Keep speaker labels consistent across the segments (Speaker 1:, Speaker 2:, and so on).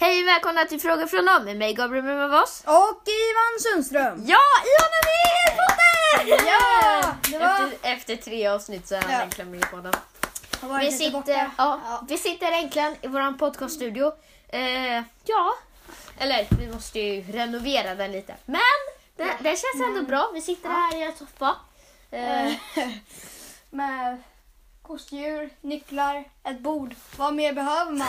Speaker 1: Hej och välkomna till Frågor från dem med mig Gabriel Mimavos.
Speaker 2: Och Ivan Sundström!
Speaker 1: Ja, Ivan är med i podden!
Speaker 2: Ja, det var-
Speaker 1: efter, efter tre avsnitt så är han
Speaker 2: Ja.
Speaker 1: äntligen med i podden.
Speaker 2: Har varit
Speaker 1: Vi
Speaker 2: lite borta.
Speaker 1: sitter, ja, vi sitter äntligen i vår podcaststudio. Eh, ja, eller vi måste ju renovera den lite. Men det, det känns ändå bra. Vi sitter här i en soffa. Eh,
Speaker 2: Med kostdjur, nycklar, ett bord. Vad mer behöver man?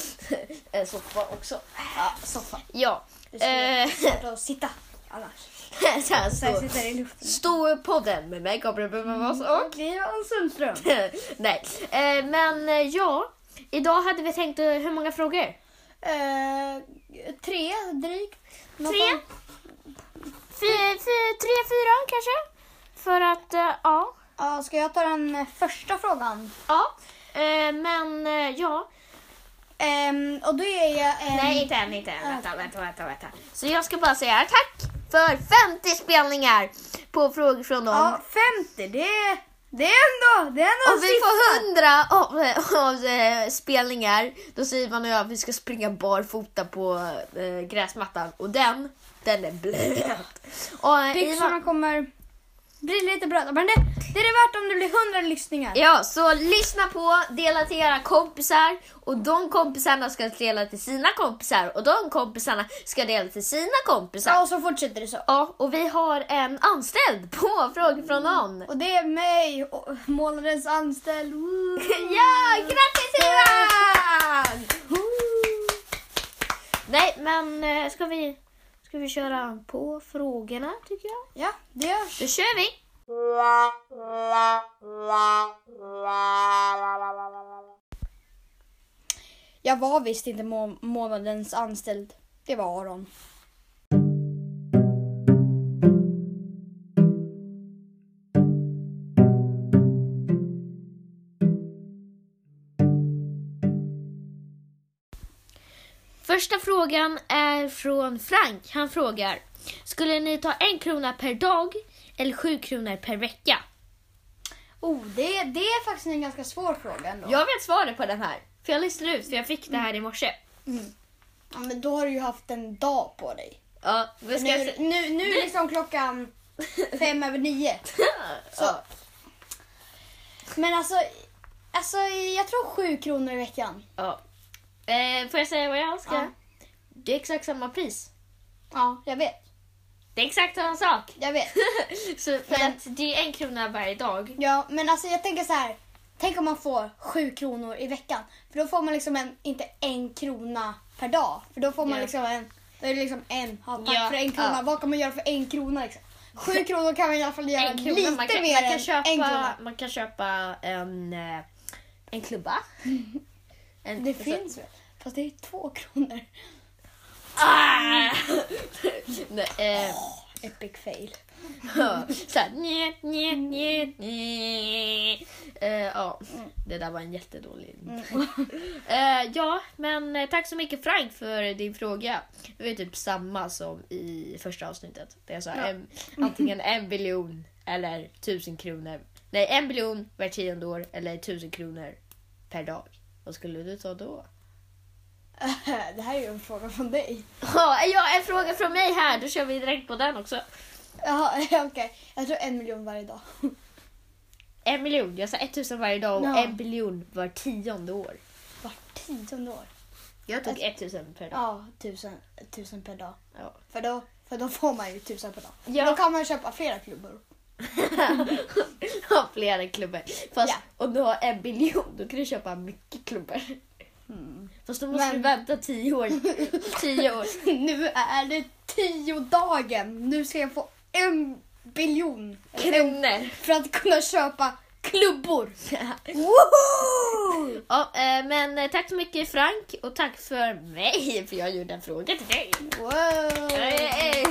Speaker 1: en soffa också.
Speaker 2: Ja, soffa.
Speaker 1: Ja.
Speaker 2: Det
Speaker 1: Eh,
Speaker 2: är svårt att sitta annars.
Speaker 1: så här,
Speaker 2: Så jag
Speaker 1: så.
Speaker 2: sitter i luften.
Speaker 1: Storpodden med mig Gabriel Mimavos och
Speaker 2: Och Ivan Sundström.
Speaker 1: Nej, eh, men eh, ja. Idag hade vi tänkt, eh, hur många frågor?
Speaker 2: Eh, tre drygt. Något
Speaker 1: Tre?
Speaker 2: sånt.
Speaker 1: Fy- fy- tre, fyra kanske? För att, eh, ja.
Speaker 2: Ja, ska jag ta den eh, första frågan?
Speaker 1: Ja, eh, men eh, ja.
Speaker 2: Ehm, och då är jag en...
Speaker 1: Nej, inte än, inte än. Vänta, vänta, vänta, vänta. Så jag ska bara säga tack för 50 spelningar på frågor från dem.
Speaker 2: Ja, 50. Det är, det är ändå... Det är ändå
Speaker 1: Om vi får 100 av, av eh, spelningar, då säger man och jag att vi ska springa barfota på eh, gräsmattan. Och den, den är blöt. Och, eh,
Speaker 2: Byxorna
Speaker 1: Ivan,
Speaker 2: kommer bli lite bröda. Men det, det är det värt om det blir 100 lyssningar.
Speaker 1: ja, så lyssna på, dela till era kompisar och de kompisarna ska dela till sina kompisar och de kompisarna ska dela till sina kompisar.
Speaker 2: Ja, och så fortsätter det så.
Speaker 1: Ja, och vi har en anställd på Frågor från någon.
Speaker 2: Och det är mig, och månadens anställd. Woo!
Speaker 1: Ja, grattis Ivan! Nej, men eh, ska vi, ska vi köra på frågorna tycker jag?
Speaker 2: Ja, det görs.
Speaker 1: Då kör vi!
Speaker 2: Jag var visst inte må- månadens anställd. Det var Aron.
Speaker 1: Första frågan är från Frank. Han frågar. Skulle ni ta en krona per dag eller sju kronor per vecka?
Speaker 2: Oh, det, det är faktiskt en ganska svår fråga ändå.
Speaker 1: Jag vet svaret på den här. För jag listade ut, för jag fick det här i morse.
Speaker 2: Ja, men då har du ju haft en dag på dig.
Speaker 1: Ja, vi ska...
Speaker 2: Nu, nu, nu är liksom klockan fem över nio. Så.
Speaker 1: Ja.
Speaker 2: Men alltså, alltså, jag tror sju kronor i veckan.
Speaker 1: Ja. Eh, får jag säga vad jag önskar?
Speaker 2: Ja.
Speaker 1: Det är exakt samma pris.
Speaker 2: Ja, jag vet.
Speaker 1: Det är exakt samma sak.
Speaker 2: Jag vet.
Speaker 1: Så för
Speaker 2: Men-
Speaker 1: att det är en krona varje dag.
Speaker 2: Ja, men alltså jag tänker så här. Tänk om man får sju kronor i veckan. För då får man liksom en, inte en krona per dag. För då får man
Speaker 1: Ja.
Speaker 2: liksom en, då är det liksom en, ja, tack
Speaker 1: Ja,
Speaker 2: för en krona.
Speaker 1: ja.
Speaker 2: Vad kan man göra för en krona liksom? Sju kronor kan man i alla fall göra
Speaker 1: En krona.
Speaker 2: lite
Speaker 1: man, kan,
Speaker 2: mer
Speaker 1: man, kan
Speaker 2: än
Speaker 1: köpa,
Speaker 2: en krona.
Speaker 1: man kan köpa en, eh, en klubba. En,
Speaker 2: Det
Speaker 1: alltså-
Speaker 2: finns väl? Fast det är två kronor.
Speaker 1: Ah! Nej, eh,
Speaker 2: Epic fail.
Speaker 1: ja, Såhär nje, nje, nje, nje. Eh, Ja, det där var en jättedålig
Speaker 2: Mm.
Speaker 1: eh, Ja, men eh, tack så mycket Frank för din fråga. Det var ju typ samma som i första avsnittet. Där jag sa
Speaker 2: Ja.
Speaker 1: en, antingen en biljon eller tusen kronor. Nej, en biljon var tionde år eller tusen kronor per dag. Vad skulle du ta då?
Speaker 2: Det här är ju en fråga från dig.
Speaker 1: Ja, en fråga från mig här. Då kör vi direkt på den också.
Speaker 2: Jaha, okej. Jag tror en miljon varje dag.
Speaker 1: En miljon, jag sa 1000 varje dag och
Speaker 2: Ja.
Speaker 1: en biljon var tionde år.
Speaker 2: Vart tionde år.
Speaker 1: Jag tog 1000 per dag.
Speaker 2: Ja, tusen, tusen per dag.
Speaker 1: Ja.
Speaker 2: För då, för då får man ju tusen per dag.
Speaker 1: Ja.
Speaker 2: Då kan man köpa flera klubbor.
Speaker 1: Ja. Flera klubbor. Fast om du har en biljon då kan du köpa mycket klubbor. Fast då måste
Speaker 2: Men-
Speaker 1: du Mm. vänta 10 år. 10 år.
Speaker 2: nu är det tio dagen. Nu ska jag få en biljon
Speaker 1: Kronor.
Speaker 2: för att kunna köpa klubbor.
Speaker 1: ja, eh, men eh, tack så mycket Frank och tack för mig för jag gjorde en fråga till dig.
Speaker 2: Wow.
Speaker 1: Hey.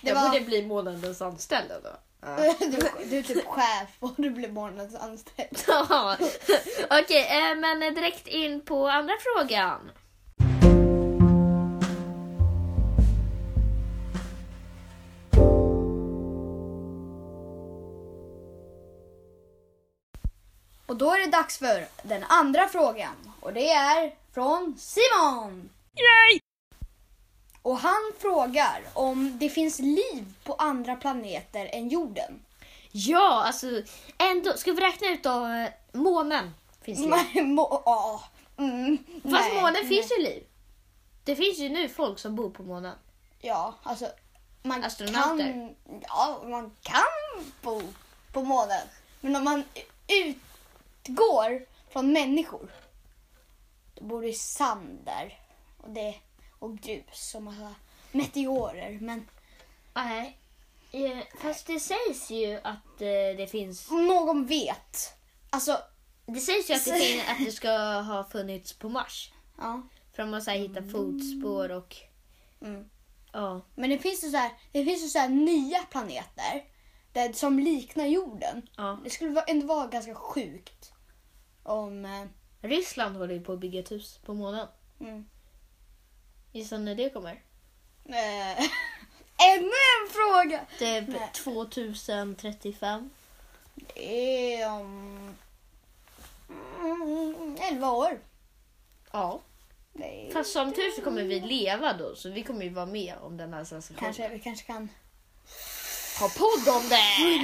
Speaker 2: Det
Speaker 1: jag
Speaker 2: var-
Speaker 1: borde bli månadens anställd då. Ja.
Speaker 2: Du, du är typ chef och du blir månadens anställd.
Speaker 1: Ja. Okej, eh, men eh, direkt in på andra frågan.
Speaker 2: Och då är det dags för den andra frågan. Och det är från Simon. Och han frågar om det finns liv på andra planeter än jorden.
Speaker 1: Ja, alltså ändå. Ska vi räkna ut då? eh, Månen finns ju.
Speaker 2: Nej, må, ja. mm,
Speaker 1: Fast
Speaker 2: nej,
Speaker 1: månen
Speaker 2: nej.
Speaker 1: finns ju liv. Det finns ju nu folk som bor på månen.
Speaker 2: Ja, alltså. Man
Speaker 1: Astronauter.
Speaker 2: Kan, ja, man kan bo på månen. Men om man utgår från människor. Då bor det sand där. Och, det, och grus och massa meteorer. Men
Speaker 3: Nej. Eh, Fast det sägs ju att eh, det finns...
Speaker 2: om någon vet. Alltså,
Speaker 1: Det sägs ju att det, fin- att det ska ha funnits på Mars.
Speaker 2: ja.
Speaker 1: För de har så här
Speaker 3: Mm.
Speaker 1: hittat fotspår och...
Speaker 2: Mm.
Speaker 1: Ja.
Speaker 2: Men det finns ju så här, det finns ju så här nya planeter där, som liknar jorden.
Speaker 1: ja.
Speaker 2: Det skulle vara- ändå vara ganska sjukt om... eh,
Speaker 1: Ryssland håller ju på att bygga ett hus på månen.
Speaker 2: Mm.
Speaker 1: Gissa när det kommer?
Speaker 2: Eh, Ännu en fråga!
Speaker 1: Typ
Speaker 2: Nej.
Speaker 1: 2035.
Speaker 2: Det är om... Mm, 11 år.
Speaker 1: Ja.
Speaker 2: Det är...
Speaker 1: Fast som tur så kommer vi leva då, så vi kommer ju vara med om den här sensationen.
Speaker 2: Kanske, vi kanske kan,
Speaker 1: Ha podd om det!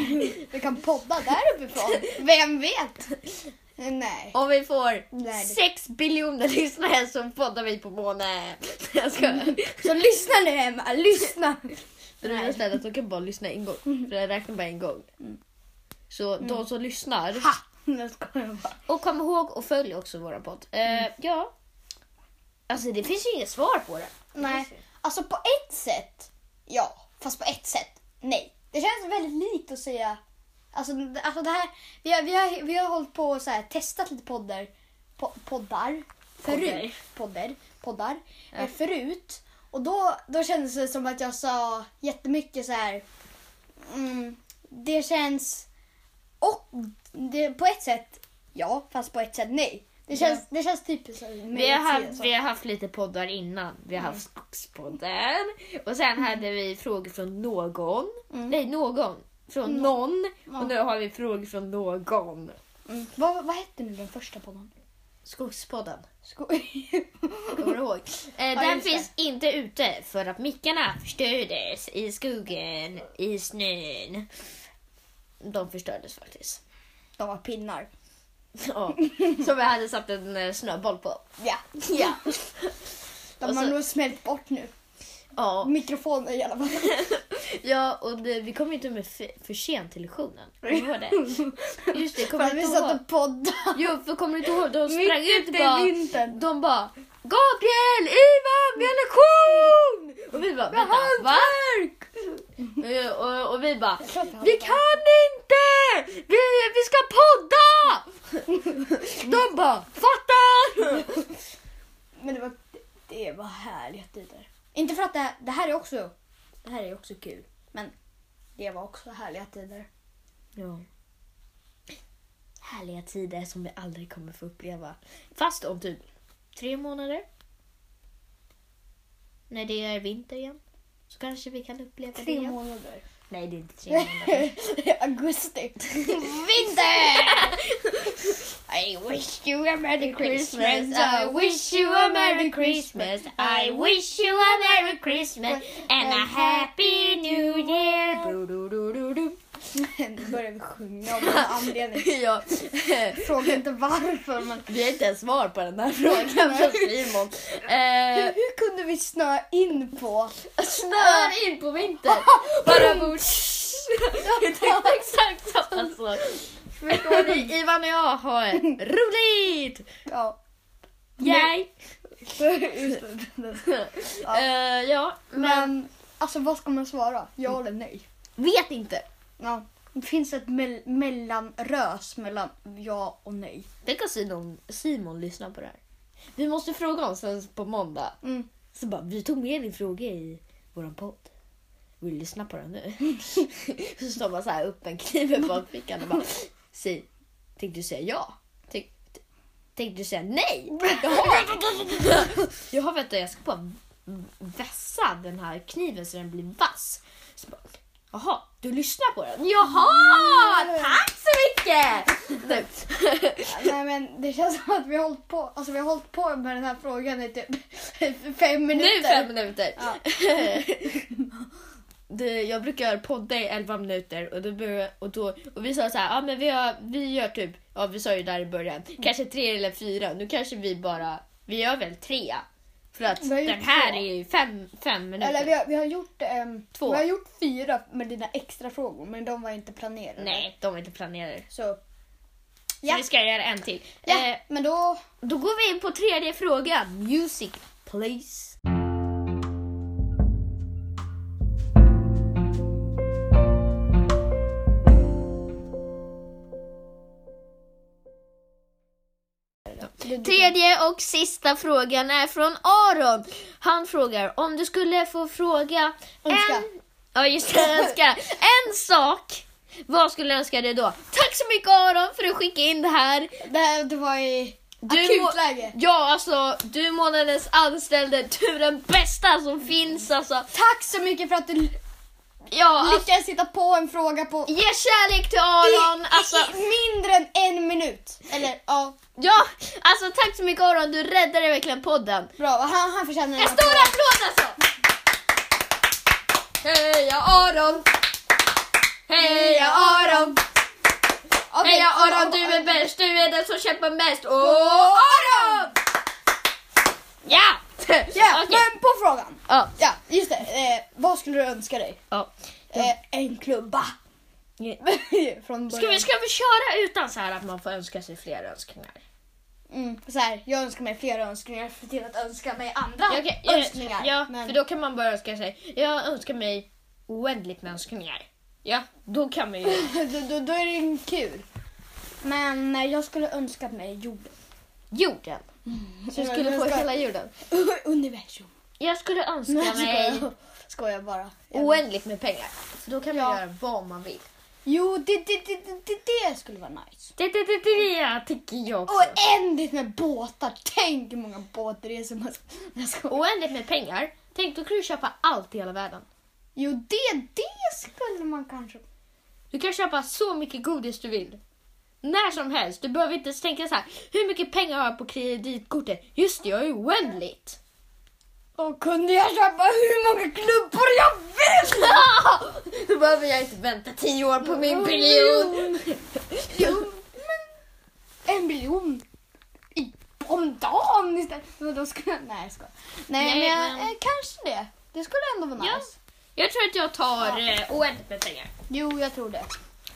Speaker 2: vi kan podda där uppifrån. Vem vet? Nej.
Speaker 1: Om vi får
Speaker 2: Nej, det-
Speaker 1: 6 biljoner lyssnare så poddar vi på månen. Jag skojar.
Speaker 2: Så lyssna nu Emma, lyssna!
Speaker 1: Det roliga är att de kan bara lyssna en gång, för jag räknar bara en gång. Så de som lyssnar,
Speaker 2: Ha! Nu skojar jag bara.
Speaker 1: och kom ihåg och följ också vår podd. Eh, ja. Alltså det finns ju inget svar på det.
Speaker 2: Nej, alltså på ett sätt ja, fast på ett sätt nej. Det känns väldigt likt att säga... Alltså, alltså det här, vi har, vi har, vi har hållit på och så här, testat lite poddar, po- poddar förut. Poddar. poddar eh, förut. Och då, då kändes det som att jag sa jättemycket så här... Mm, det känns... Och det, på ett sätt ja, fast på ett sätt nej. Det känns, det känns typiskt. så här, med
Speaker 1: Vi har,
Speaker 2: ett C,
Speaker 1: haft,
Speaker 2: så.
Speaker 1: vi har haft lite poddar innan. Vi har haft Skogspodden. Och sen hade vi frågor från någon. Nej, någon. Från någon. Och nu har vi frågor från någon.
Speaker 2: Mm. Vad, vad hette nu den första podden?
Speaker 1: Skogspodden.
Speaker 2: Skoj.
Speaker 1: Kommer du ihåg? Eh, den
Speaker 2: just det.
Speaker 1: finns inte ute för att mickarna förstördes i skogen, i snön. De förstördes faktiskt.
Speaker 2: De var pinnar.
Speaker 1: Ja. Som vi hade satt en eh, snöboll på.
Speaker 2: Ja. Alltså-
Speaker 1: Ja.
Speaker 2: De
Speaker 1: Och
Speaker 2: har
Speaker 1: så-
Speaker 2: nog smält bort nu.
Speaker 1: ja.
Speaker 2: Mikrofoner i alla fall.
Speaker 1: Ja, och det, vi kom inte med för, för sent till lektionen. Kommer du ihåg det? Just det, kommer
Speaker 2: För
Speaker 1: du
Speaker 2: vi
Speaker 1: inte ihåg?
Speaker 2: satt och poddade.
Speaker 1: Jo, för kommer du inte ihåg? De sprang
Speaker 2: Mitt
Speaker 1: ut
Speaker 2: ute
Speaker 1: och
Speaker 2: i
Speaker 1: bara...
Speaker 2: vintern.
Speaker 1: De bara Gabriel, Ivan, vi har lektion! Och vi bara vänta, va? Eh, Och, och vi bara vi kan inte! Vi, vi ska podda! De bara fattar!
Speaker 2: Men det var, det var härliga tider. Inte för att det, det här är också det här är också kul. Men det var också härliga tider.
Speaker 1: Ja. Härliga tider som vi aldrig kommer få uppleva. Fast om typ tre månader. När det är vinter igen. Så kanske vi kan uppleva det
Speaker 2: Tre
Speaker 1: igen.
Speaker 2: månader.
Speaker 1: Nej, det är inte tre månader.
Speaker 2: Augusti. Vinter! I wish you a merry Christmas. I wish you a merry Christmas. I wish
Speaker 1: you a merry Christmas
Speaker 2: and a happy
Speaker 1: new year.
Speaker 2: Nu börjar vi sjunga av någon anledning.
Speaker 1: ja,
Speaker 2: Fråga inte varför men
Speaker 1: vi har inte ens svar på den här frågan från Simon.
Speaker 2: hur,
Speaker 1: Eh,
Speaker 2: hur kunde vi snöa in på?
Speaker 1: Snör in på vinter. Bara bort. Jag tänkte exakt samma sak. Förstår ni? Alltså, Ivan och jag har roligt!
Speaker 2: Ja.
Speaker 1: Yay!
Speaker 2: Ja.
Speaker 1: Eh, ja, men
Speaker 2: Men alltså vad ska man svara? Ja eller nej?
Speaker 1: vet inte.
Speaker 2: Ja. Finns det ett mell- mellanrös mellan ja och nej?
Speaker 1: Tänk om Simon, Simon lyssnar på det här. Vi måste fråga honom sen på måndag.
Speaker 2: Mm.
Speaker 1: Så bara, vi tog med din fråga i våran podd. Vill du lyssna på den nu? så står man så här upp en kniv i bakfickan och bara, säg, tänkte du säga ja? Tänk, tänkte du säga nej? Jaha, Jaha vänta jag ska bara vässa den här kniven så den blir vass. Så bara, Jaha, du lyssnar på den? Jaha!
Speaker 2: Mm.
Speaker 1: Tack så mycket!
Speaker 2: Nej men det känns som att vi har hållit på, alltså, vi har hållit på med den här frågan i typ fem
Speaker 1: nu
Speaker 2: minuter.
Speaker 1: fem minuter.
Speaker 2: Ja.
Speaker 1: det, jag brukar podda i 11 minuter och då, börjar- och då och vi sa så här, ja men vi, har, vi gör typ, ja vi sa ju där i början,
Speaker 2: Mm.
Speaker 1: kanske tre eller fyra. Nu kanske vi bara, vi gör väl tre. För att
Speaker 2: Vi har gjort
Speaker 1: den här
Speaker 2: två.
Speaker 1: är ju fem, fem minuter.
Speaker 2: Eller vi har, vi har gjort ehm,
Speaker 1: Två.
Speaker 2: Vi har gjort fyra med dina extra frågor men de var inte planerade.
Speaker 1: Nej, de är inte planerade.
Speaker 2: Så
Speaker 1: Så
Speaker 2: Ja.
Speaker 1: vi ska göra en till.
Speaker 2: ja,
Speaker 1: Eh,
Speaker 2: men då
Speaker 1: då går vi in på tredje frågan. Music, please. Tredje och sista frågan är från Aron. Han frågar om du skulle få fråga
Speaker 2: Önska.
Speaker 1: en... Ja, just det, önska. En sak. Vad skulle du önska dig då? Tack så mycket Aron för att du skickade in det här.
Speaker 2: Det här det var i
Speaker 1: Du
Speaker 2: akutläge.
Speaker 1: Ja, alltså du månadens anställde, du är den bästa som finns alltså.
Speaker 2: Tack så mycket för att du
Speaker 1: Ja, alltså,
Speaker 2: lyckades hitta på en fråga på
Speaker 1: ge kärlek till Aron.
Speaker 2: i,
Speaker 1: Alltså,
Speaker 2: i mindre än en minut. Eller ja,
Speaker 1: ja, alltså tack så mycket Aron, du räddade verkligen podden.
Speaker 2: bra. Han, han förtjänar
Speaker 1: En stor applåd alltså! Heja Aron! Heja Aron!
Speaker 2: applåd.
Speaker 1: Heja Aron, du är bäst, du är den som kämpar mest. Åh, Aron! Ja!
Speaker 2: Ja,
Speaker 1: Okej.
Speaker 2: men på frågan.
Speaker 1: Ja,
Speaker 2: Ja, just det. Eh, vad skulle du önska dig?
Speaker 1: ja.
Speaker 2: Eh, en klubba.
Speaker 1: Ja.
Speaker 2: Från början.
Speaker 1: Mm. Ska vi, ska vi köra utan så här att man får önska sig fler önskningar?
Speaker 2: Mm, så här, jag önskar mig fler önskningar för till att önska mig andra
Speaker 1: Ja, okej, jag-
Speaker 2: önskningar.
Speaker 1: Ja,
Speaker 2: men,
Speaker 1: för då kan man bara önska sig. Jag önskar mig oändligt med önskningar. Ja, då kan man ju.
Speaker 2: då, då, då är det ju kul. Men eh, jag skulle önska mig jorden.
Speaker 1: Jorden. Så du skulle få
Speaker 2: Jag ska-
Speaker 1: hela jorden.
Speaker 2: Universum.
Speaker 1: Jag skulle önska
Speaker 2: Nej,
Speaker 1: mig
Speaker 2: skojar. Skojar bara. Jag vet.
Speaker 1: oändligt med pengar. För då kan man
Speaker 2: Ja.
Speaker 1: göra vad man vill.
Speaker 2: Jo, det, det, det, det, det, det skulle vara nice.
Speaker 1: Det, det, det, det jag tycker jag också.
Speaker 2: Oändligt med båtar. Tänk hur många båtresor man ska... Jag skojar.
Speaker 1: Oändligt med pengar. Tänk, då kan du köpa allt i hela världen.
Speaker 2: Jo, det, det skulle man kanske...
Speaker 1: Du kan köpa så mycket godis du vill. När som helst. Du behöver inte ens tänka så här. Hur mycket pengar har jag på kreditkortet? Just det, jag har ju oändligt.
Speaker 2: Och kunde jag köpa hur många klubbor jag vill?
Speaker 1: Då behöver jag inte vänta tio år på min
Speaker 2: En
Speaker 1: biljon.
Speaker 2: Jo, men en biljon i, om dagen istället. Men då skulle jag, nej, jag skojar. Nej,
Speaker 1: Nej,
Speaker 2: men, jag,
Speaker 1: men-
Speaker 2: Eh, kanske det. Det skulle ändå vara
Speaker 1: Ja.
Speaker 2: nice.
Speaker 1: Jag tror att jag tar eh, oändligt med pengar.
Speaker 2: Jo, jag tror det.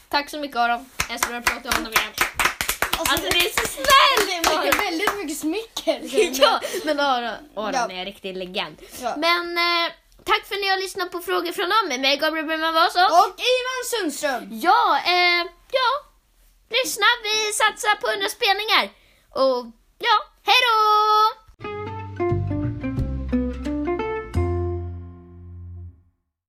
Speaker 1: Tack så mycket Aron. Jag ska börja prata om honom igen.
Speaker 2: Alltså,
Speaker 1: Alltså det är så
Speaker 2: det
Speaker 1: snällt!
Speaker 2: är mycket,
Speaker 1: Aron.
Speaker 2: väldigt mycket smicker.
Speaker 1: Ja, men Aron,
Speaker 2: Ja.
Speaker 1: Aron är en riktig legend.
Speaker 2: Ja.
Speaker 1: Men eh, tack för att ni har lyssnat på frågor från dem med mig Gabriel Bergman Vaso.
Speaker 2: Och Ivan Sundström.
Speaker 1: Ja, eh, ja. Lyssna, vi satsar på 100 spelningar. Och ja, hej då!